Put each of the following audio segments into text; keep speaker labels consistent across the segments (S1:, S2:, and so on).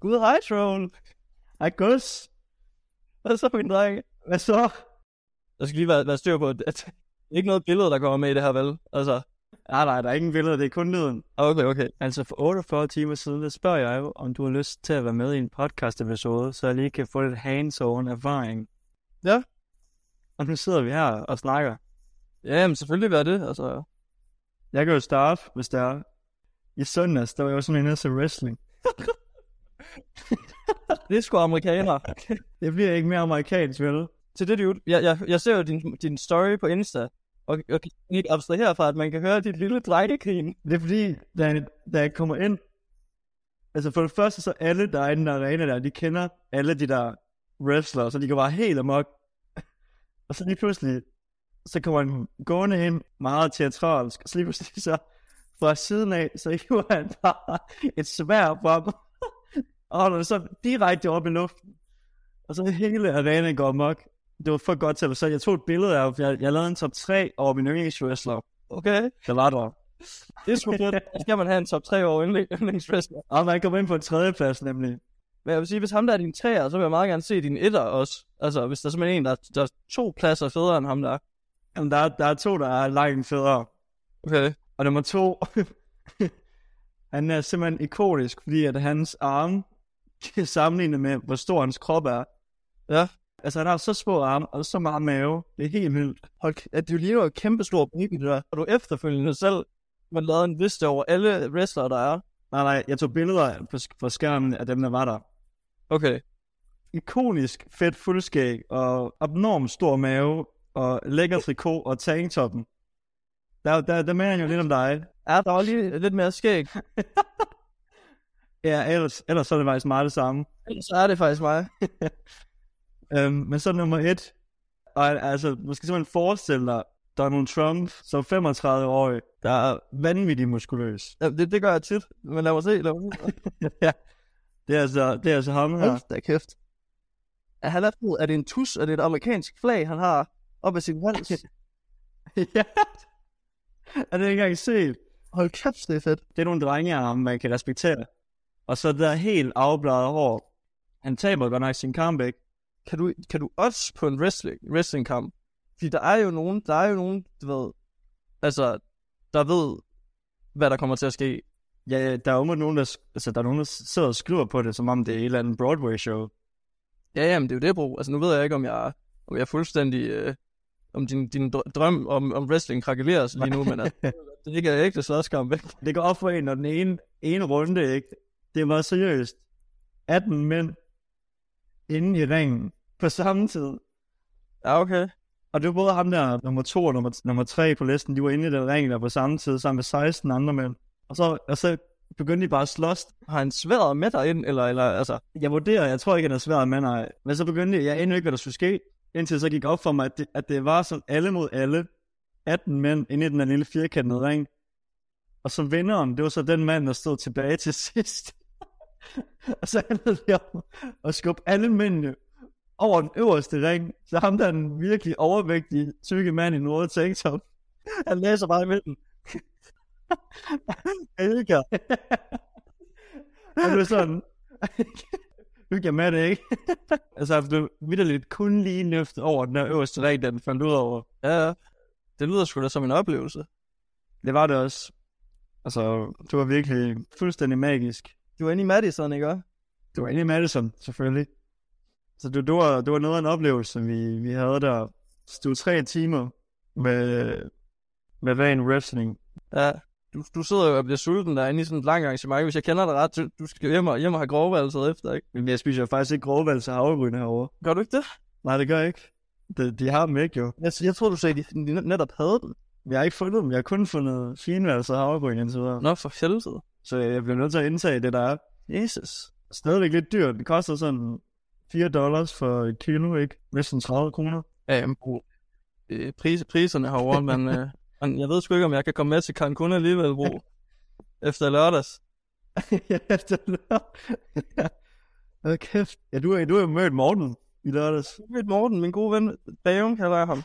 S1: Gud, hej troll. Hej Gus. Hvad så, min dreng? Hvad så? Der skal lige være, være styr på, at, at ikke noget billede, der kommer med i det her, vel? Altså, nej, nej, der er ingen billeder, det er kun lyden. Okay, okay. Altså, for 48 timer siden, der spørger jeg jo, om du har lyst til at være med i en podcast-episode, så jeg lige kan få lidt hands-on erfaring. Ja. Og nu sidder vi her og snakker. Ja, men selvfølgelig var det, altså. Jeg kan jo starte, hvis der er. I søndags, der var jeg jo sådan inde til wrestling. det er sgu amerikanere. Det bliver ikke mere amerikansk, vel? Til det, dude. Jeg, jeg, jeg ser jo din, din story på Insta, og jeg kan ikke abstrahere fra, at man kan høre dit lille drengekrin. Det er fordi, da jeg, da jeg kommer ind, altså for det første, så alle, der er i den arena der, de kender alle de der wrestlere, så de går bare helt amok. Og så lige pludselig, så kommer han gående ind, meget teatralsk, og så lige pludselig så, fra siden af, så hiver han bare et svær frem, og holder det så direkte op i luften. Og så hele arenaen går amok. Det var for godt til, så jeg tog et billede af, jeg, jeg lavede en top 3 over min yndlingswrestler. Okay. Der var der.
S2: Det er sgu fedt. Så skal man have en top 3 over yndling- yndlingswrestler.
S1: Og man kom ind på en tredjeplads nemlig.
S2: Men jeg vil sige, hvis ham der er din 3'er, så vil jeg meget gerne se din 1'er også. Altså, hvis der er simpelthen en, der, der er to pladser federe end ham der.
S1: Jamen, der, er, der er to, der er langt federe.
S2: Okay.
S1: Og nummer to, han er simpelthen ikonisk, fordi at hans arme kan sammenligne med, hvor stor hans krop er.
S2: Ja.
S1: Altså, han har så små arme og så meget mave. Det er helt vildt.
S2: Hold, kæ- at du ligner jo en kæmpe stor baby, det der. Og du efterfølgende selv, man lavede en liste over alle wrestlere, der er.
S1: Nej, nej, jeg tog billeder på, sk- på skærmen af dem, der var der.
S2: Okay.
S1: Ikonisk fedt fuldskæg og abnorm stor mave og lækker trikot og tanktoppen. Der, der, der mener han jo lidt om dig.
S2: Ja, der var lige lidt mere skæg.
S1: Ja, ellers, ellers så er det faktisk meget det samme.
S2: Så er det faktisk mig.
S1: Øhm, men så nummer et. Og al- altså, man skal simpelthen forestille dig, Donald Trump som 35-årig, der er vanvittigt muskuløs.
S2: Ja, det, det gør jeg tit, men lad mig se. Lad mig se.
S1: ja. Det er altså, det er altså ham her.
S2: Hold da kæft. Er han er, er det en tus? Er det et amerikansk flag, han har op ad sin hals?
S1: ja. Er det ikke engang set?
S2: Hold kæft, det er fedt.
S1: Det er nogle drengearme, man kan respektere. Og så det der helt afbladet hår. Han taber godt nok sin comeback.
S2: kan du, kan du også på en wrestling, wrestling kamp? Fordi der er jo nogen, der er jo nogen, du ved, altså, der ved, hvad der kommer til at ske.
S1: Ja, ja, der er jo nogen, der, sk- altså, der er nogen, der sidder og skriver på det, som om det er et eller andet Broadway-show.
S2: Ja, jamen, det er jo det, bro. Altså, nu ved jeg ikke, om jeg, om jeg er fuldstændig, øh, om din, din dr- drøm om, om wrestling krakeleres lige nu, men altså, det ikke er ægte slåskamp, ikke?
S1: Det går op for en, når den ene, ene runde, ikke? Det er meget seriøst. 18 mænd inde i ringen på samme tid.
S2: Ja, okay.
S1: Og det var både ham der, nummer to og nummer, nummer tre på listen, de var inde i den ring der på samme tid, sammen med 16 andre mænd. Og så, og så begyndte de bare at slås.
S2: Har han sværet med dig ind, eller, eller altså,
S1: Jeg vurderer, jeg tror ikke, at det er svært, men nej. Men så begyndte jeg, jeg endnu ikke, hvad der skulle ske, indtil så gik op for mig, at det, at det var sådan alle mod alle. 18 mænd inde i den her lille firkantede ring. Og så vinderen, det var så den mand, der stod tilbage til sidst. og så handlede det om at skubbe alle mændene over den øverste ring. Så ham, der er den virkelig overvægtige, tykke mand i den røde tanktop, han læser bare i midten. Elker. og det var sådan, nu kan jeg med det, ikke? altså, jeg blev vidderligt kun lige nøftet over den her øverste ring, da den fandt ud over.
S2: ja, ja. det lyder sgu da som en oplevelse.
S1: Det var det også. Altså, det var virkelig fuldstændig magisk.
S2: Du er inde i Madison, ikke også?
S1: Det var inde i Madison, selvfølgelig. Så det, det, var, det var noget af en oplevelse, vi, vi havde der. Så det var tre timer med, med ren wrestling.
S2: Ja, du, du sidder jo og bliver sulten derinde i sådan et langt arrangement. Hvis jeg kender dig ret, du, du skal hjem og, hjem og have grovvalset efter, ikke?
S1: Men jeg spiser jo faktisk ikke grovvalse og havregryn herovre.
S2: Gør du ikke det?
S1: Nej, det gør jeg ikke. De, de har dem ikke jo.
S2: Jeg, jeg tror du sagde, at de de netop havde den.
S1: Jeg har ikke fundet dem. Jeg har kun fundet finvalse og havregryn indtil videre.
S2: Nå, for helvede.
S1: Så jeg bliver nødt til at indtage det, der er.
S2: Jesus.
S1: Stadigvæk lidt dyrt. Det koster sådan 4 dollars for et kilo, ikke? Næsten 30 kroner.
S2: Ja, jamen, bro. Øhm, Øh, Pris, priserne herovre, men, øh, men jeg ved sgu ikke, om jeg kan komme med til Cancun alligevel, bro. Efter lørdags.
S1: ja, det lyder. Hold kæft. Ja, du har du har mødt Morten i lørdags.
S2: Mit Morten, min gode ven, Bagum kalder jeg ham.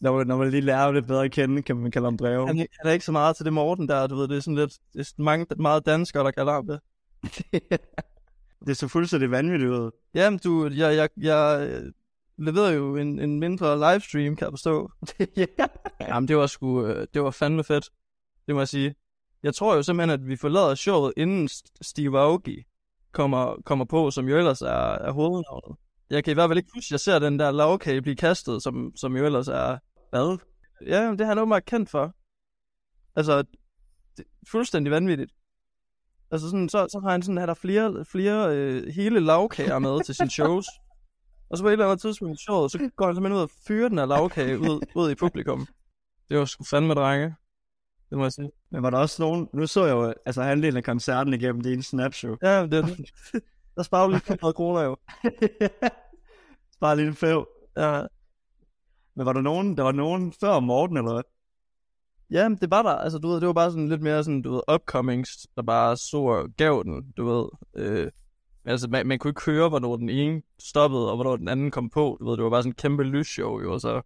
S1: Når man, når man lige lærer lidt bedre at kende, kan man kalde ham Dreo.
S2: Han, han er ikke så meget til det Morten der, du ved, det er sådan lidt, det er sådan mange, meget danskere, der kalder ham det.
S1: det er så fuldstændig vanvittigt ud.
S2: Jamen, du, jeg, jeg, jeg øh, leverede jo en, en mindre livestream, kan jeg forstå.
S1: ja.
S2: Jamen, det var sgu, øh, det var fandme fedt. Det må jeg sige. Jeg tror jo simpelthen, at vi forlader showet, inden S- Steve Aoki kommer, kommer på, som jo ellers er, er hovednavnet. Jeg kan i hvert fald ikke huske, at jeg ser den der lavkage blive kastet, som, som jo ellers er...
S1: Hvad?
S2: Ja, jamen, det er han åbenbart kendt for. Altså, det, fuldstændig vanvittigt. Altså, sådan, så, så har han sådan, han har flere, flere øh, hele lavkager med til sine shows. Og så på et eller andet tidspunkt i showet, så går han simpelthen ud og fyrer den her lavkage ud, ud i publikum. Det var sgu fandme drenge. Det må jeg sige.
S1: Men var der også nogen... Nu så jeg jo altså, halvdelen af koncerten igennem din snapshow.
S2: Ja, det er det. Der sparer du lige 500 kroner jo.
S1: Bare lige en fæv.
S2: Ja,
S1: Men var der nogen, der var nogen før Morten, eller hvad?
S2: ja men det var der. Altså, du ved, det var bare sådan lidt mere sådan, du ved, upcomings, der bare så og gav den, du ved. Øh, men altså, man, man kunne ikke høre, hvornår den ene stoppede, og hvornår den anden kom på. Du ved, det var bare sådan en kæmpe lysshow, jo, og så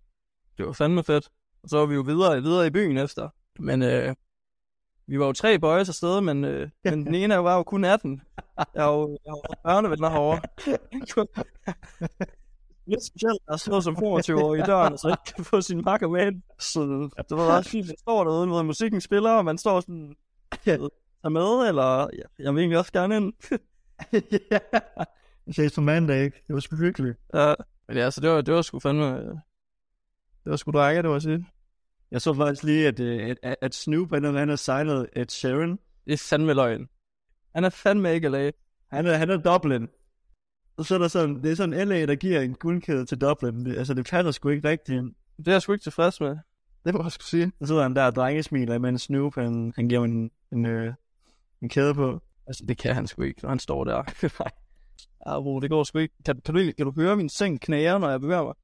S2: det var fandme fedt. Og så var vi jo videre, videre i byen efter. Men øh, vi var jo tre boys afsted, men, øh, men den ene var jo kun 18. Jeg har jo, jeg har jo børnevenner herovre. Lidt specielt at stå som 25 år i døren, og så ikke kan få sin makker med ind. Så det var ret fint. Man står derude, hvor musikken spiller, og man står sådan, er med, eller ja, jeg vil egentlig også gerne ind.
S1: ja. Jeg ses på mandag, ikke? Det var sgu hyggeligt.
S2: Ja, men ja, så det var, det var sgu fandme... øh, Det var sgu drenge, det var sige.
S1: Jeg så faktisk lige, at, øh, at- at, at Snoop, han havde- han har signet et Sharon.
S2: Det er fandme løgn. Han er fandme ikke LA.
S1: Han er, han er Dublin. Og så er der sådan, det er sådan LA, der giver en guldkæde til Dublin. Det, altså, det passer sgu ikke rigtigt.
S2: Det er jeg sgu ikke tilfreds med. Det må jeg sgu sige.
S1: Så sidder han der og drengesmiler, imens Snoop, han, han giver ham en, en, øh, en kæde på.
S2: Altså, det kan han sgu ikke, når han står der. Nej. Ja, bro, det går sgu ikke. Kan, kan, du, egentlig- kan du høre min seng knager, når jeg bevæger mig?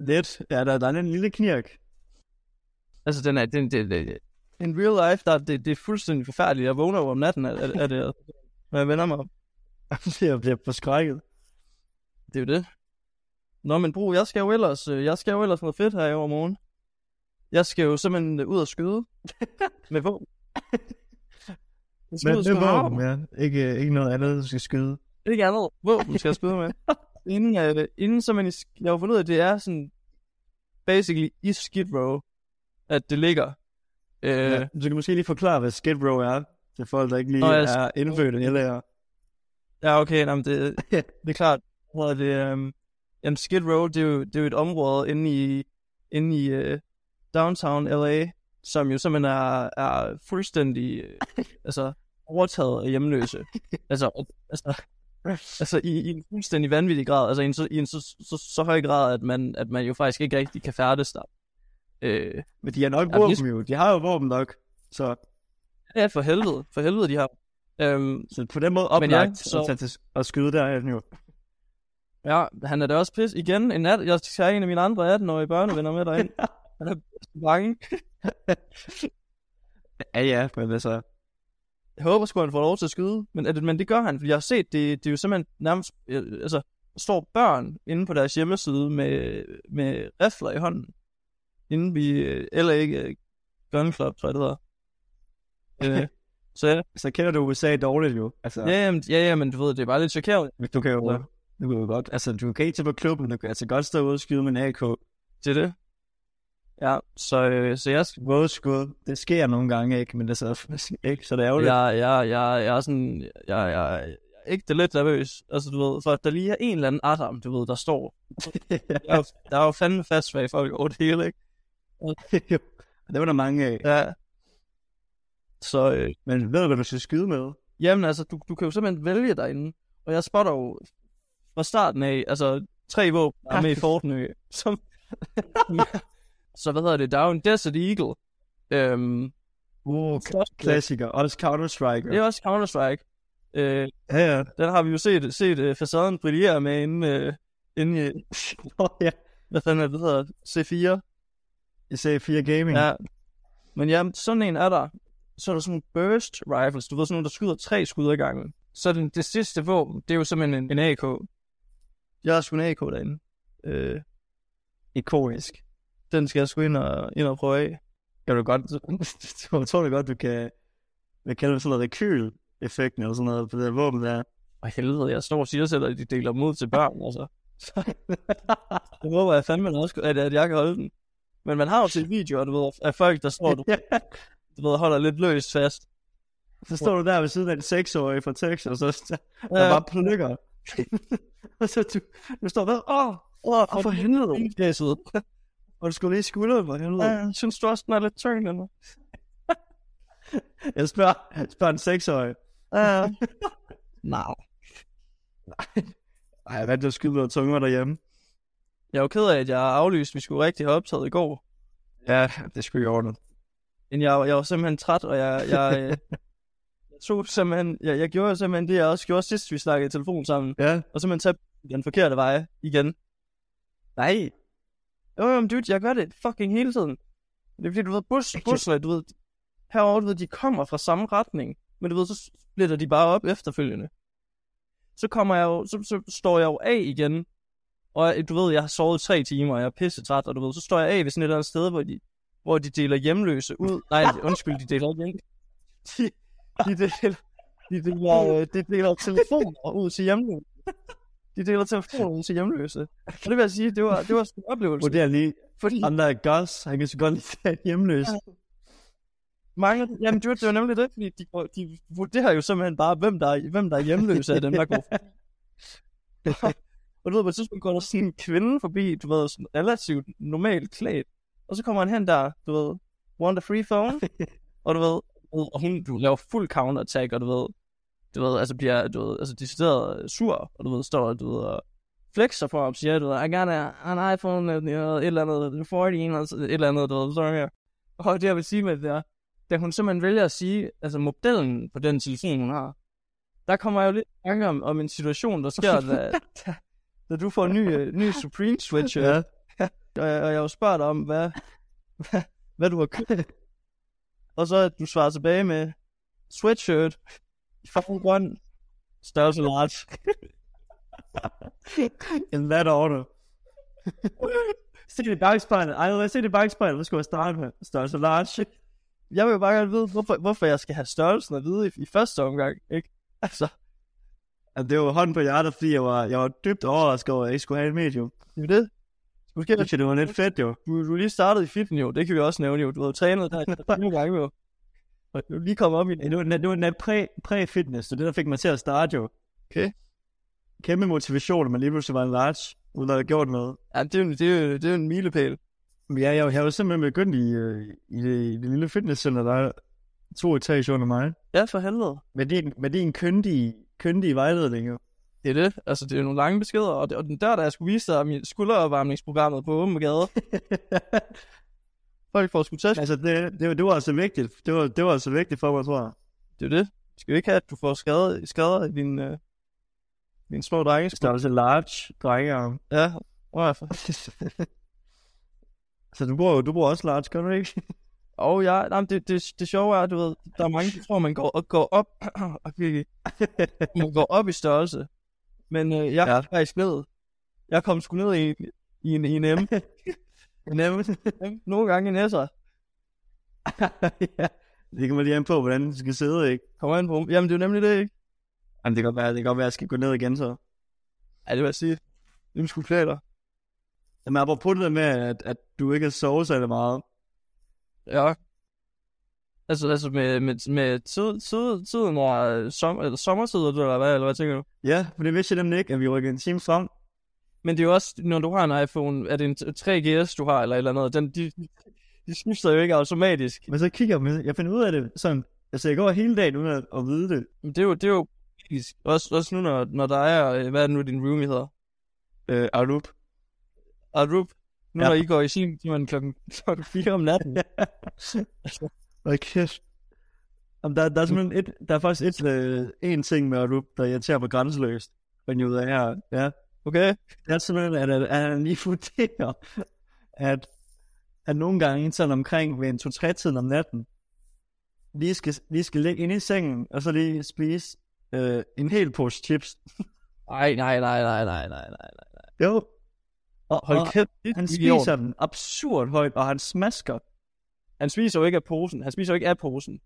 S1: Lidt. Ja, der, der er en lille knirk.
S2: Altså, den er... Den, den, den, in real life, der, det, det er fuldstændig forfærdeligt. Jeg vågner jo om natten, er, er, er det, når jeg vender mig om.
S1: jeg bliver forskrækket.
S2: Det er jo det. Nå, men bro, jeg skal jo ellers, øh, jeg skal jo ellers noget fedt her i over morgen. Jeg skal jo simpelthen øh, ud og skyde. med våben. Jeg skal ud og skyde våben.
S1: ja. Ikke, ikke noget andet, du skal skyde.
S2: Ikke andet. Våben skal jeg skyde med. inden, øh, inden så man, i sk- jeg har jo fundet ud af, at det er sådan, basically i Skid Row, at det ligger. Øh,
S1: Ja.
S2: ja.
S1: Du kan måske lige forklare, hvad Skid Row er, til folk, der ikke lige
S2: Nå,
S1: Nå,
S2: ja,
S1: er indfødte eller
S2: ja, okay, nej, men det, det er klart. Hvad hedder det, øh, jamen Skid Row, det er, jo, det er jo et område inde i, inde i øh, downtown LA, som jo simpelthen er, er fuldstændig øh, altså, overtaget af hjemløse. Altså, altså, altså i, i en fuldstændig vanvittig grad. Altså i en, så, i en så, så, så høj grad, at man, at man jo faktisk ikke rigtig kan færdes der. Øh,
S1: Men de har nok
S2: Ja,
S1: våben jo. De har jo våben nok. Så,
S2: ja, for helvede. For helvede, de har. Øhm,
S1: så på den måde
S2: Men
S1: oplagt
S2: ja,
S1: ja,
S2: så-
S1: så... at, tage til, at skyde der jo.
S2: Ja, han er da også pis. Igen, en nat, jeg skal have en af mine andre 18-årige børnevenner med derind. Han er bange.
S1: Ja, ja, men altså...
S2: Jeg håber sgu, han får lov til at skyde, men, at, men det gør han, fordi jeg har set, det, det er jo simpelthen nærmest, øh, altså, der står børn inde på deres hjemmeside med, med rifler i hånden, inde vi, øh, eller ikke, Gun Club, tror jeg det hedder. Øh, så ja,
S1: Så kender du USA dårligt jo. Altså,
S2: ja, jamen, ja, ja, men du ved, det er bare lidt chokerende.
S1: Men Du kan jo,
S2: Ja.
S1: du kan jo godt, altså du kan ikke tage på klubben, du kan altså godt stå ude og skyde med en AK.
S2: Det er det. Ja, så, øh, så jeg,
S1: Våde skud, det sker nogle gange ikke, men det er så, ikke, så det er jo ja.
S2: Jeg, jeg, jeg, jeg er sådan, jeg, jeg, jeg er ikke det lidt nervøs. Altså, du ved, for at der lige er en eller anden Adam, du ved, der står. Der er jo, der er jo fandme fast bag folk over det hele, ikke?
S1: det var der mange af.
S2: Ja. Så, øh,
S1: Men ved du, hvad du skal skyde med?
S2: jamen altså, du, du kan jo simpelthen vælge derinde. Og jeg spotter jo fra starten af, altså, tre våben der er med i Fortnite. Som, så hvad hedder det? Der er jo en Desert Eagle. Øhm,
S1: Uh,
S2: okay.
S1: klassiker, også Counter-Strike.
S2: Det er også Counter-Strike. Øh,
S1: Ja, ja.
S2: Den har vi jo set, set uh, facaden brillere med inde, uh, inde i,
S1: Oh, ja.
S2: hvad fanden er det, det hedder, C4.
S1: Jeg ser 4 Gaming.
S2: Ja. Men ja, sådan en er der. Så er der sådan nogle burst rifles, du ved, sådan nogle, der skyder tre skud ad gangen. Så den, det sidste våben, det er jo simpelthen en, en AK. Jeg har sgu en AK derinde. Øh,
S1: Ikonisk.
S2: den den skal jeg sgu ind og, ind og prøve af.
S1: Kan du godt, jeg tror du godt, du kan, hvad kalder det, sådan noget rekyl-effekten eller sådan noget på det der våben der.
S2: Og helvede, jeg står og siger selv, at de deler mod til børn, altså. Så det håber jeg fandme også, at, at jeg kan holde den. Men man har jo til videoer, du ved, af folk, der står, du, du ved, holder lidt løst fast.
S1: Så står du der ved siden af en seksårig fra Texas, og så, der bare plukker. og så du, du står der, åh, åh,
S2: Åh, for helvede.
S1: det er sødt. Og du skulle lige skulderen for helvede.
S2: Ja, synes du også, den er lidt tyngd, eller?
S1: Jeg spørger, spørger en seksårig.
S2: Ja. Nej.
S1: Ej, hvad er det, der skyder noget tungere derhjemme?
S2: Jeg er jo ked af, at jeg har aflyst, vi skulle rigtig have optaget i går.
S1: Ja, det skulle jeg ordne.
S2: Men jeg, jeg var simpelthen træt, og jeg, jeg, øh, jeg tog simpelthen, jeg, jeg gjorde simpelthen det, jeg også gjorde sidst, vi snakkede i telefon sammen.
S1: Ja.
S2: Og simpelthen tage den forkerte vej igen.
S1: Nej.
S2: Jo, jo, men dude, jeg gør det fucking hele tiden. Det er fordi, du ved, bus, busserne, du ved, herovre, du ved, de kommer fra samme retning, men du ved, så splitter de bare op efterfølgende. Så kommer jeg jo, så, så står jeg jo af igen, og jeg- du ved, jeg har sovet tre timer, og jeg er pisse træt, og du ved, så står jeg af ved sådan et eller andet sted, hvor de, hvor de deler hjemløse ud. Nej, undskyld, de deler ikke hjem. De, de deler, de deler, øh, de deler telefoner ud til hjemløse. De deler telefoner ud til hjemløse. Og det vil jeg sige, det var, det var sådan en oplevelse.
S1: Vurder lige,
S2: Fordi
S1: ham der er Gus, han kan så godt lide at hjemløs.
S2: mangler... Jamen, det var, det var nemlig det, fordi de, de vurderer jo simpelthen bare, hvem der er, hvem der er hjemløse af dem, der går forbi. og du ved, på et tidspunkt går der sådan en kvinde forbi, du ved, sådan relativt normalt klædt. Og så kommer han hen der, du ved, want a free phone? og du ved, og hun du laver fuld counter attack, og du ved, du ved, altså bliver, du ved, altså decideret sur, og du ved, står, du ved, og flexer for ham, siger, du ved, I got a, an iPhone, you know, et eller andet, 14, eller sådan- et eller andet, du ved, sådan her. Og det, jeg vil sige med det der, da hun simpelthen vælger at sige, altså modellen på den telefon, hun har, der kommer jeg jo lidt i tanke om, om en situation, der sker, da, da, da du får en ny, øh, ny Supreme Switch, ja.
S1: Ja.
S2: og, jeg, og jeg jo spørger dig om, hvad, hvad, hvad du har købt. Og så at du svarer tilbage med, sweatshirt, farven grøn, størrelse large.
S1: In that order. se det i bagspejlet. Ej, lad os se det i bagspejlet. Hvad skulle jeg starte med? Størrelse large.
S2: Jeg vil jo bare gerne vide, hvorfor, hvorfor jeg skal have størrelsen at vide i, i første omgang, ikke? Altså,
S1: Jamen, altså, det var hånden på hjertet, fordi jeg var, jeg var dybt overrasket over, at jeg ikke skulle have et medium.
S2: det er jo det. Måske
S1: Jeg synes, det var lidt fedt, jo.
S2: du, du er lige startet i fitness, jo. Det kan vi også nævne, jo. Du har jo trænet der i nogle gange, jo. Og du er lige kommet op i
S1: Ja,
S2: en
S1: Det var, det var den der præ- præ-fitness, så det der fik mig til at starte jo.
S2: Okay.
S1: Kæmpe motivation, at man lige pludselig var en large, uden at have gjort noget.
S2: Ja, det er jo, det er jo, det er jo en milepæl.
S1: Men ja, jeg, jeg var simpelthen begyndt i, øh, i, det, i det lille fitnesscenter, der er to etager under mig.
S2: Ja, for helvede.
S1: Med din, med din køndige, køndige vejledning jo.
S2: Det er det. Altså, det er jo nogle lange beskeder. Og, det, og den der, der jeg skulle vise dig min skulderopvarmningsprogrammet på åben gade. Folk får sgu tæsk.
S1: altså, det, det, var- det var altså vigtigt. Det var, det var altså vigtigt for mig, tror jeg.
S2: Det er jo det. Du skal jo ikke have, at du får skade, skader i din, øh, din små drengesko.
S1: Størrelse large, drengearm.
S2: Ja, hvor er for?
S1: Så du bruger, jo- du bruger også large, gør du ikke?
S2: Og ja, nej, men det, det, det sjove er, at du ved, der er mange, der tror, man går, og går op, okay, man går op i størrelse. Men øh, jeg
S1: Ja.
S2: er faktisk ned. Jeg kom sgu ned i, en- i, en, i en M.
S1: Nemt.
S2: Nogle gange en S'er.
S1: ja. Det kan man lige an på, hvordan den skal sidde, ikke?
S2: Kommer ind på. Jamen, det er jo nemlig det, ikke?
S1: Jamen, det kan godt være, det kan godt være, at jeg skal gå ned igen så.
S2: Ja, det vil jeg sige. Hvem skulle klæde dig?
S1: Jamen, apropos det der med, at, at du ikke har sovet særlig meget.
S2: Ja. Altså, altså med, med, med tid, tid, tiden og øh, som, eller sommertid, eller hvad, eller hvad tænker du?
S1: Ja, for det vidste jeg nemlig ikke, at vi rykker en time frem.
S2: Men det er jo også, når du har en iPhone, er det en 3GS, du har, eller et eller andet, den, de, de skifter jo ikke automatisk.
S1: Men så kigger jeg, med, jeg finder ud af det sådan, altså jeg går hele dagen uden at, at vide det.
S2: Men det er jo, det er jo praktisk. også, også nu, når, når der er, øh, hvad er det nu, din roomie hedder?
S1: Øh, Arup.
S2: Arup. Nu
S1: Ja.
S2: når I går i sin timen klokken, klokken 4 om natten.
S1: Hvad kæft. Jamen, der, der er simpelthen et, der er faktisk et, øh, en ting med Arup, der irriterer mig grænseløst. Men ud af her, ja.
S2: Okay?
S1: Det er simpelthen, at, at, at han lige vurderer, at, at nogle gange sådan omkring ved en 2-3 tiden om natten, lige skal, lige skal ligge inde i sengen, og så lige spise øh, en hel pose chips.
S2: Nej, nej, nej, nej, nej, nej, nej.
S1: Jo.
S2: Og,
S1: Hold
S2: og
S1: kæft, det er
S2: han
S1: idiot.
S2: spiser den absurd højt, og han smasker. Han spiser jo ikke af posen. Han spiser jo ikke af posen.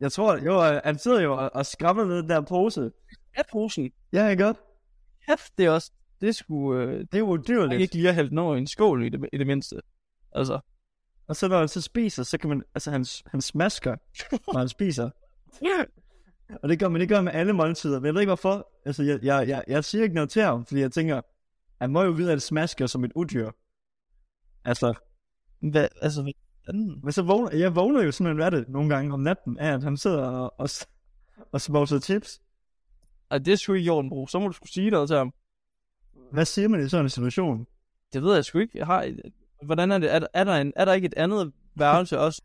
S1: Jeg tror, jo, øh, han sidder jo og, og skræmmer med den der pose.
S2: Af posen?
S1: Ja, ikke godt.
S2: Kæft, det er også... Det skulle... Øh,
S1: Det er jo
S2: jeg
S1: udyrligt.
S2: ikke lige at hælde den over i en skål i det, i det mindste. Altså,
S1: Og så når han så spiser, så kan man, altså han, han smasker, når han spiser. Og det gør man, det gør med alle måltider, men jeg ved ikke hvorfor. Altså, jeg, jeg, jeg, jeg siger ikke noget til ham, fordi jeg tænker, han må jo vide, at han smasker som et udyr. Altså,
S2: hvad, altså, hvad fanden?
S1: men så vågner, jeg vågner jo simpelthen hvad er det nogle gange om natten, af at han sidder og, og, s- og smoser chips.
S2: Ej, det skulle ikke Jorden bruge. Så må du skulle sige noget til ham.
S1: Hvad siger man i sådan en situation?
S2: Det ved jeg sgu ikke. Jeg har, hvordan er det? Er, der- er, der en, er der ikke et andet værelse også?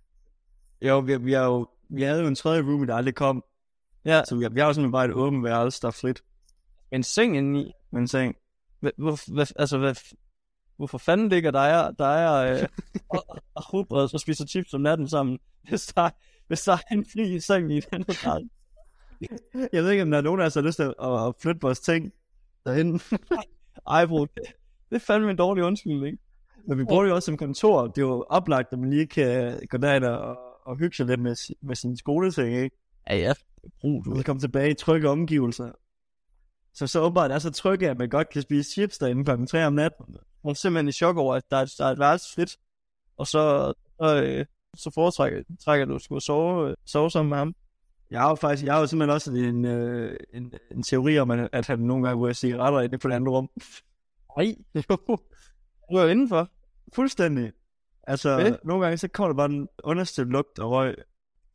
S1: Jo, vi, vi, er jo, vi havde jo en tredje roomie, der aldrig kom.
S2: Ja,
S1: Så vi, vi har jo simpelthen bare et åbent værelse, der er frit
S2: med en seng indeni.
S1: med en seng.
S2: Hvad, hvor, hvad, altså, hvad, hvorfor fanden ligger dig og, dig og, øh, og, og rugbrød og spiser chips om natten sammen, hvis der, hvis der er en fri seng i den anden grad?
S1: Jeg ved ikke, om der er nogen af os, der har lyst til at, at flytte vores ting derinde.
S2: Ej, bro, det, det er fandme en dårlig undskyldning.
S1: Men vi bruger det jo også som kontor. Det er jo oplagt, at man lige kan gå derind og, og hygge sig lidt med, si- med sine skoleting, ikke?
S2: Ja, ja, brug
S1: Du
S2: du.
S1: kan komme tilbage i trygge omgivelser. Så så åbenbart er så trygge, at man godt kan spise chips derinde klokken 3 om natten.
S2: Hun er simpelthen i chok over, at der er, der er et værelse frit, og så, og, øh, så foretrækker trækker du at skulle sove, øh, sove sammen med ham.
S1: Jeg har jo faktisk, jeg har jo simpelthen også en, øh, en, en teori om, at at han nogle gange ryger cigaretter i det på det andet rum.
S2: Nej, du er jo indenfor.
S1: Fuldstændig. Altså,
S2: Fedt.
S1: nogle gange så kommer der bare en understødt lugt og røg.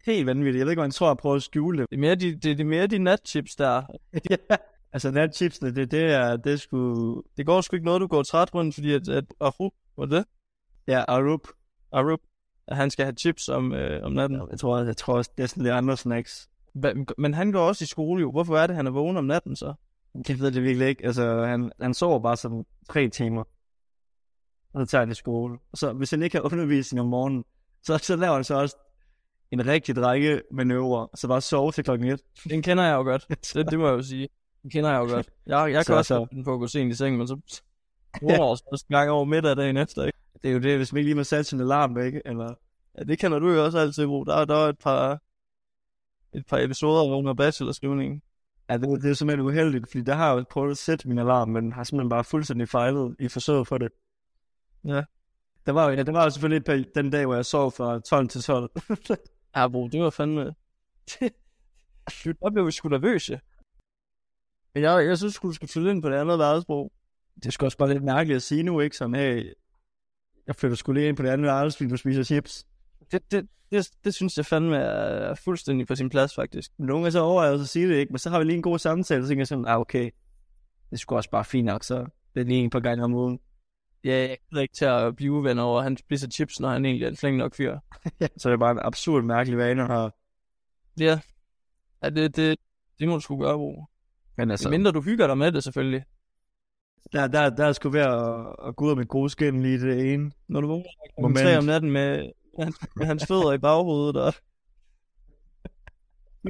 S1: Helt vanvittigt. Jeg ved ikke, hvad han tror, at prøve at skjule det.
S2: Det er mere de, det, det er mere de natchips der.
S1: ja. Altså natchipsene, det, det er, det skulle,
S2: Det går sgu ikke noget, du går træt rundt, fordi at, at Arup, var det?
S1: ja, Arup.
S2: Arup, at han skal have chips om, øh, om natten.
S1: Jeg tror, jeg tror også, det er sådan lidt andre snacks.
S2: Hva- Men han går også i skole jo. Hvorfor er det, han er vågen om natten så?
S1: Jeg ved det virkelig ikke. Altså, han, han sover bare sådan tre timer. Og så tager han i skole. Og så, hvis han ikke har undervisning om morgenen, så, så laver han så også en rigtig drenge manøvre. Så bare sove til klokken et.
S2: Den kender jeg jo godt. Det, det må jeg jo sige. Den kender jeg jo godt. Jeg, jeg
S1: Så-
S2: kan også
S1: så-
S2: godt finde på at gå sent i seng, men så vågner jeg også en gang over middag dagen efter. Ikke?
S1: Det er jo det, hvis man ikke lige må sætte sin alarm væk, eller...
S2: Ja, det kender du jo også altid, Bro. Der, der er et par, et par episoder under bachelorskrivningen.
S1: Ja, det, det er jo simpelthen uheldigt, fordi der har jeg jo prøvet at sætte min alarm, men har simpelthen bare fuldstændig fejlet i forsøget for det.
S2: Ja.
S1: Der var, jo- ja, der var jo selvfølgelig et peri- den dag, hvor jeg sov fra 12 til 12.
S2: Ja, Bro, det var fandme... Der blev vi sgu nervøse. Men jeg, jeg synes, sgu, du skulle flytte ind på det andet værelse, Bro.
S1: det er sgu også bare lidt mærkeligt at sige nu, ikke? Sådan, hey, jeg flytter sgu lige ind på det andet værelse, fordi du spiser chips.
S2: Det, det, det, det synes jeg fandme er fuldstændig på sin plads, faktisk.
S1: Men nogle gange så overvejer så at sige det, ikke? Men så har vi lige en god samtale, så tænker jeg sådan, ah, okay, det skulle også bare fint nok, så det er lige en par gange om ugen.
S2: Ja, jeg gider ikke til at blive uvenner over, at han spiser chips, når han egentlig er en flink nok fyr.
S1: så det er bare en absurd mærkelig vane at have.
S2: Ja. ja det, det, det må du sgu gøre, Bro.
S1: Men
S2: Altså... Mindre du hygger dig med det, selvfølgelig.
S1: der, der, der er sgu ved at, at gå ud af mit gode skin lige det ene.
S2: Når du vågner klokken
S1: Moment.
S2: tre om natten med, med, hans, med hans fødder i baghovedet og...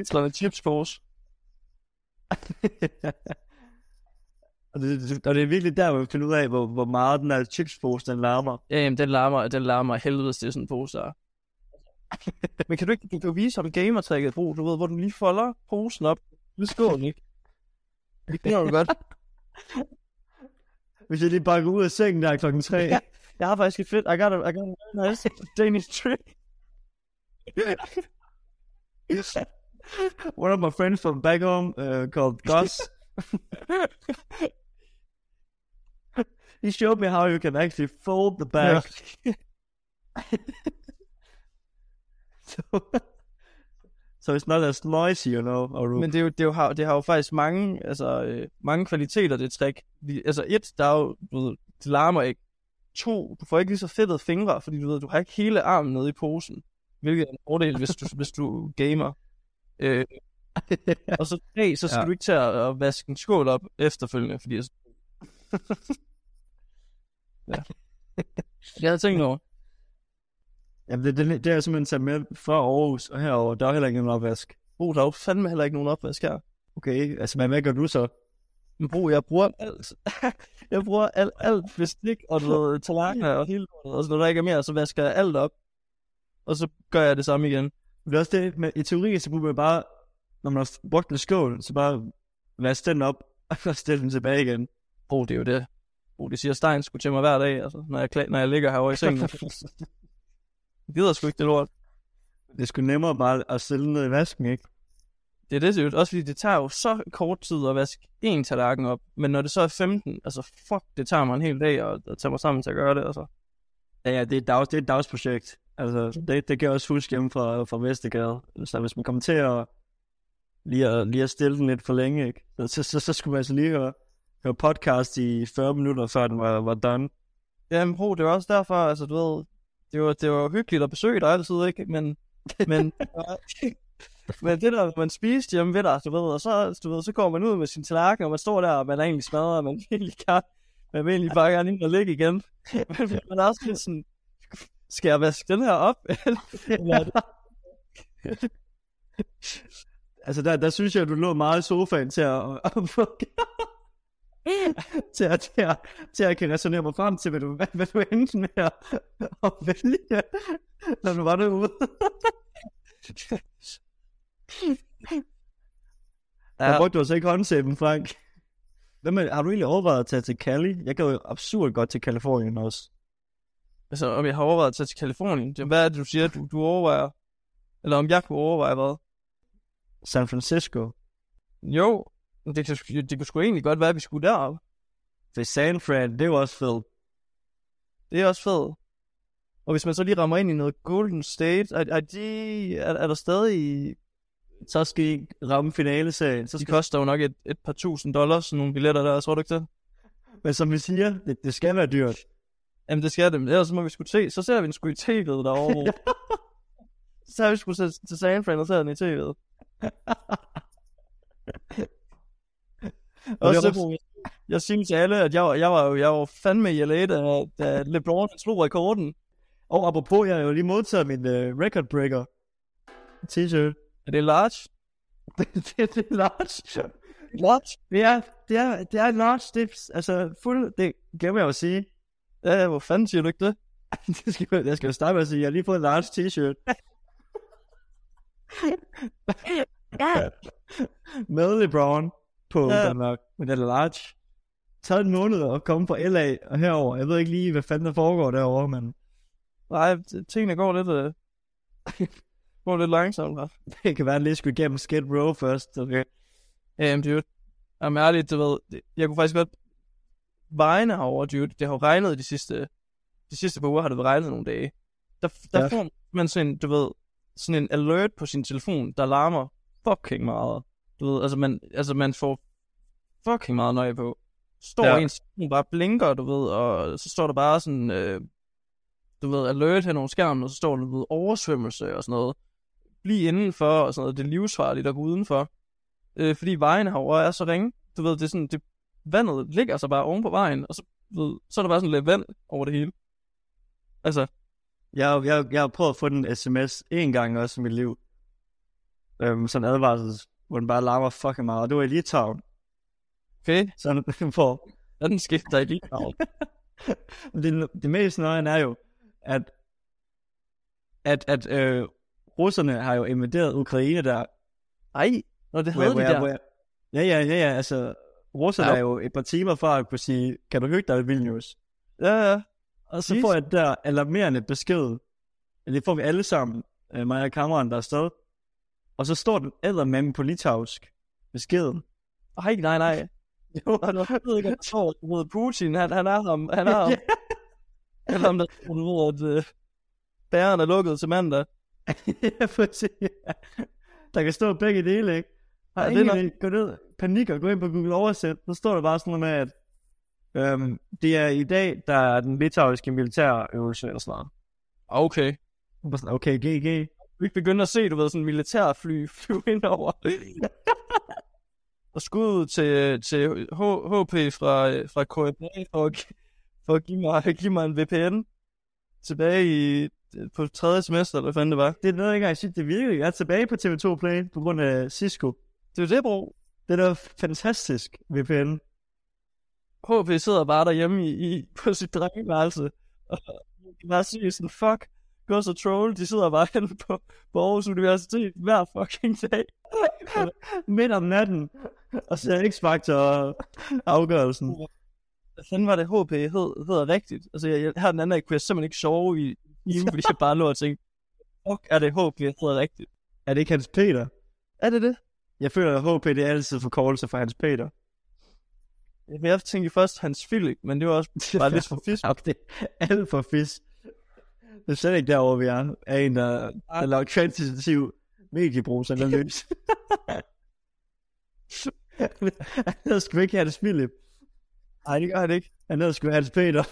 S2: Slår en chipspose.
S1: og, det, det, og det er virkelig der, hvor vi finder ud af, hvor, hvor meget den her chipspose, den larmer.
S2: Ja, jamen, den larmer, den larmer af helvedes, det er sådan en pose, der er. Men kan du ikke du kan jo vise ham gamertrækket, Bro? Du ved, hvor du lige folder posen op. Nu skål, ikke? Det kender du godt.
S1: Hvis jeg lige bakker ud af sengen der klokken 3.
S2: Ja. Jeg har faktisk et fedt, I got a, I got a nice Danish trick.
S1: One of my friends from back home uh, called Gus. He showed me how you can actually fold the bag. so, so it's not as noisy, you know. Or
S2: Men det, er jo, det, er jo, har, det har jo faktisk mange, altså, øh, mange kvaliteter, det trick. De- Altså et, der er jo, du ved, det larmer ikke. To, du får ikke lige så fedtede fingre, fordi du ved, du har ikke hele armen nede i posen. Hvilket er en fordel, hvis du, hvis du gamer. Øh, og så tre, så skal
S1: Ja.
S2: ja. du ikke til at, at vaske en skål op efterfølgende, fordi... altså- ja. Jeg havde tænkt over.
S1: Jamen, det, det, det er jeg simpelthen taget med fra Aarhus og herover. Der er heller ikke nogen opvask.
S2: Bro, der er jo fandme heller ikke nogen opvask her.
S1: Okay, altså, men hvad gør du så?
S2: Men bro, jeg bruger dem alt. jeg bruger alt, alt bestik og du ved, tallerkener og hele lortet, og så når der ikke er mere, så vasker jeg alt op, og så gør jeg det samme igen.
S1: Men det er også det, med, i teorien, så burde man bare, når man har brugt en skål, så bare vaske den op, og stille den tilbage igen.
S2: Bro, det er jo det. Bro, det siger Stein skulle til mig hver dag, altså, når jeg, kla- når jeg ligger herovre i sengen. Jeg gider sgu ikke det lort.
S1: Det er sgu nemmere bare at stille den ned i vasken, ikke?
S2: Det er det, seriøst. Også fordi det tager jo så kort tid at vaske én tallerken op. Men når det så er 15, altså fuck, det tager mig en hel dag at, at tage mig sammen til at gøre det, altså.
S1: Ja, ja, det er et, dags, det er et dagsprojekt. Altså, det, det kan jeg også huske hjemme fra, fra Vestergade. Så hvis man kommer til at lige, at lige at stille den lidt for længe, ikke? Så, så, så, så skulle man altså lige høre, høre podcast i 40 minutter, før den var, var done.
S2: Jamen, bro, det var også derfor, altså du ved, det var, det var hyggeligt at besøge dig altid, ikke? Men, men, men det der, man spiste hjemme ved dig, altså, du ved, og så, du ved, så går man ud med sin tallerken, og man står der, og man er egentlig smadret, og man vil egentlig kan, man vil egentlig bare gerne ind og ligge igen. Men man er også lidt sådan, skal jeg vaske den her op? Eller,
S1: Altså, der, der synes jeg, at du lå meget i sofaen til at, at få- til, at, til, at, til at kan resonere mig frem til, hvad du, hvad, hvad du endte med at, at vælge, når du var derude. ja. Der
S2: Ja.
S1: brugte du altså ikke håndsæben, Frank. Hvad med, har du egentlig overvejet at tage til Cali? Jeg gad jo absurd godt til Kalifornien også.
S2: altså, om jeg har overvejet at tage til Kalifornien, det, hvad er det, du siger, du, du overvejer? Eller om jeg kunne overveje hvad?
S1: San Francisco.
S2: Jo, det, kan sgu- det kunne sgu egentlig godt være, at vi skulle derop.
S1: For San Fran, det er jo også fedt.
S2: Det er også fedt. Og hvis man så lige rammer ind i noget Golden State, er, er, de, er, er der stadig...
S1: Så skal I ramme finaleserien. Så
S2: De
S1: skal
S2: koster jo nok et, et par tusind dollars, sådan nogle billetter der, tror du ikke det?
S1: Men som vi siger, det, det skal være dyrt.
S2: Jamen det skal det, men ellers så må vi sgu se. Så ser vi den sgu i tv'et derovre. så tager vi sgu til, til San Fran og ser den i tv'et.
S1: Og
S2: Også,
S1: det er
S2: jeg, jeg synes til alle, at jeg, var- jeg, var, jo- jeg var fandme i LA, da, da LeBron slog rekorden.
S1: Og apropos, jeg har jo lige modtaget min uh, record breaker t-shirt.
S2: Er det large?
S1: det, det, det er large.
S2: Large?
S1: Det er, det er, det er large. Det er, altså fuld, det glemmer jeg at sige.
S2: Ja, ja, hvor fanden siger du ikke det?
S1: det skal, jeg- jeg skal jo starte med at sige, jeg har lige fået en large t-shirt. med LeBron på
S2: Ja.
S1: ja. Danmark, men den er large. Taget en måned at komme fra LA og herover. Jeg ved ikke lige, hvad fanden der foregår derovre, men
S2: Nej, t- tingene går lidt, øh, går lidt langsomt, hva'?
S1: det kan være, at jeg lige skulle igennem Skid Row først. Okay.
S2: Jamen, Øhm, dude. Jamen, ærligt, du ved, det- jeg kunne faktisk godt... Vejene herovre, dude, det har jo regnet de sidste... De sidste par uger har det regnet nogle dage. Der, der
S1: Ja.
S2: ja. får man sådan en, du ved, sådan en alert på sin telefon, der larmer fucking meget. Du ved, altså man, altså man får fucking meget nøje på. Står
S1: Ja.
S2: ja. ens telefon bare blinker, du ved, og så står der bare sådan, øh, du ved, alert hen over skærmen, og så står der, du ved, oversvømmelse og sådan noget. Bliv indenfor og sådan noget, det er livsfarligt at gå udenfor. Øh, fordi vejen herovre er så ringe. Du ved, det er sådan, det, vandet ligger sig bare oven på vejen, og så, du ved, så er der bare sådan lidt vand over det hele. Altså,
S1: Jeg, jeg, jeg har prøvet at få den sms en gang også i mit liv. Øhm, sådan en advarsel, hvor den bare larmer fucking meget. Og det var i Litauen.
S2: okay,
S1: Sådan, hvor
S2: hvad er den skift, der er lige Au.
S1: det, det mest nøje er jo, at, at, at øh, russerne har jo invaderet Ukraine der.
S2: Ej, når det havde
S1: Hvor-
S2: de
S1: hvor jeg- hvor
S2: der.
S1: jeg- Ja, ja, ja, ja. Altså, russerne
S2: Ja.
S1: er jo et par timer fra at kunne sige, kan du hygge dig i Vilnius?
S2: Ja, ja.
S1: Og så
S2: Jeez.
S1: får jeg der alarmerende besked. Eller Det får vi alle sammen, øh, mig og kammeren, der er afsted. Og så står den eddermame på litauisk beskeden.
S2: Ej, nej, nej.
S1: Jo,
S2: Og nu- Jeg ved ikke, at det står mod Putin. Han, han er ham, han er ham. Han er ham, der tror, du ved, at øh, bæren er lukket til mandag.
S1: ja, præcis. Der kan stå begge dele, ikke? Har
S2: Ja,
S1: ja,
S2: det er
S1: ingen det gå ned, panik og gå ind på Google Oversæt, så står der bare sådan noget med, at øhm, det er i dag, der er den litauiske militærøvelse eller sådan noget.
S2: Okay.
S1: Og bare sådan, Okay, GG.
S2: Vi ikke begynde at se, du ved, sådan en militærfly flyve ind over. og skud til, til H- HP fra, øh, fra KFA for, at gi- for at give mig, give mig en VPN tilbage i, på tredje semester, eller hvad fanden det var.
S1: Det er noget, jeg ikke engang synes, det virkelig. Jeg er tilbage på TV2 Play på grund af Cisco.
S2: Det er jo det, bro.
S1: Det er da fantastisk VPN.
S2: HP sidder bare derhjemme i, i på sit drengeværelse, og bare siger sådan, fuck, gå så troll, de sidder bare henne på, på Aarhus Universitet hver fucking dag. Midt om natten, og ser X-Factor afgørelsen. Hvad fanden var det, HP hed, hedder rigtigt? Altså, jeg, jeg, her den anden dag kunne jeg simpelthen ikke sove i timen, fordi jeg bare lå og tænkte, fuck, er det HP, hedder rigtigt?
S1: Er det ikke Hans Peter?
S2: Er det det?
S1: Jeg føler, at HP det er altid forkortelse for Hans Peter.
S2: Jeg vil tænke først Hans Philip, men det var også bare lidt for fisk.
S1: Ja, det er alt for fisk. Det er slet ikke derovre, vi er. Er en, der, der laver kvantitativ mediebrug, så den er løs. han hedder sgu ikke Hans Philip.
S2: Nej, det gør han ikke.
S1: Han hedder sgu Hans Peter.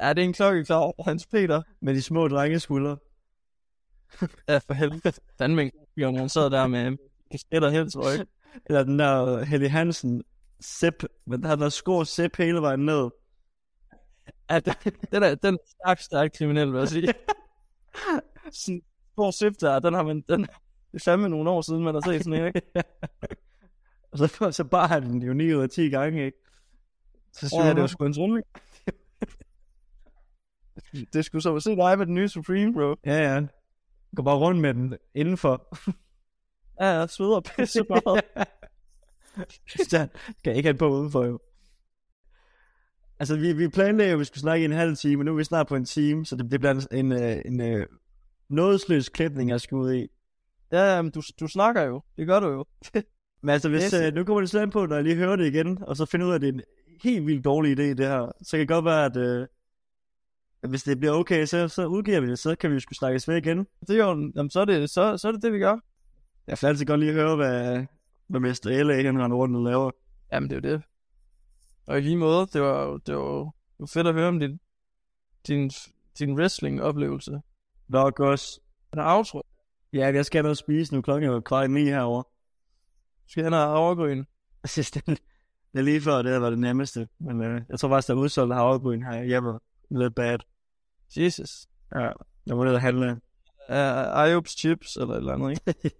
S2: Ja, det er en klokke klar over Hans Peter.
S1: Med de små drengeskuldre.
S2: Ja, for helvede. Fandme ikke, han sad der med kasketter helt tryk.
S1: Eller den
S2: øh,
S1: der Helly Hansen. Sip. Men han der skor sip hele vejen ned.
S2: Ja, den, den er, den er stærkt, stærkt kriminel, vil jeg sige. Sådan en stor sip der, den har man, den, det er fandme nogle år siden, man har set sådan en, ikke?
S1: Og så, så bare han den jo 9 ud af 10 gange, ikke?
S2: Så synes oh, jeg, det var sgu en trumling. det er sgu så at se dig med den nye Supreme, bro.
S1: Ja, ja. Går bare rundt med den indenfor.
S2: Ja, jeg sveder pisse meget.
S1: Christian, skal ikke have på udenfor, jo. Altså, vi, vi planlagde jo, at vi skulle snakke i en halv time, men nu er vi snart på en time, så det, det bliver en, en, en, en nådesløs klipning, jeg skal ud i.
S2: Ja, ja, men du, du snakker jo. Det gør du jo.
S1: men altså, hvis, yes. øh, nu kommer det slet an på, når jeg lige hører det igen, og så finder ud af, at det er en helt vildt dårlig idé, det her. Så kan det godt være, at øh, hvis det bliver okay, så, så udgiver vi det, så kan vi jo skulle snakkes ved igen.
S2: Det er jo, jamen, så, er det, så, så er det det, vi gør.
S1: Jeg kan altid godt lige høre, hvad, hvad Mester L.A. han render rundt og laver.
S2: Jamen, det er jo det. Og i lige måde, det var, det var, det var fedt at høre om din, din, din wrestling-oplevelse.
S1: Nok også.
S2: Han er outro.
S1: Ja, jeg skal have noget at spise nu. Klokken er jo kvart i ni herovre.
S2: Skal han have havregryn?
S1: Jeg synes, det, det er lige før, det havde været det nemmeste. Men øh, jeg tror faktisk, der er udsolgt havregryn her hjemme. Lidt bad.
S2: Jesus.
S1: Ja, jeg må ned og handle.
S2: Uh, IOPS chips eller et eller andet, ikke?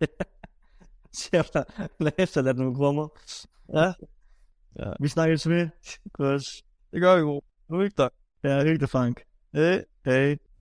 S1: Efter, efterladt nogle krummer.
S2: Ja.
S1: ja. Vi snakkes ved. Godt.
S2: Det gør vi, bro. Nu er vi ikke der.
S1: Ja, hyggeligt, Frank. Hey, hey.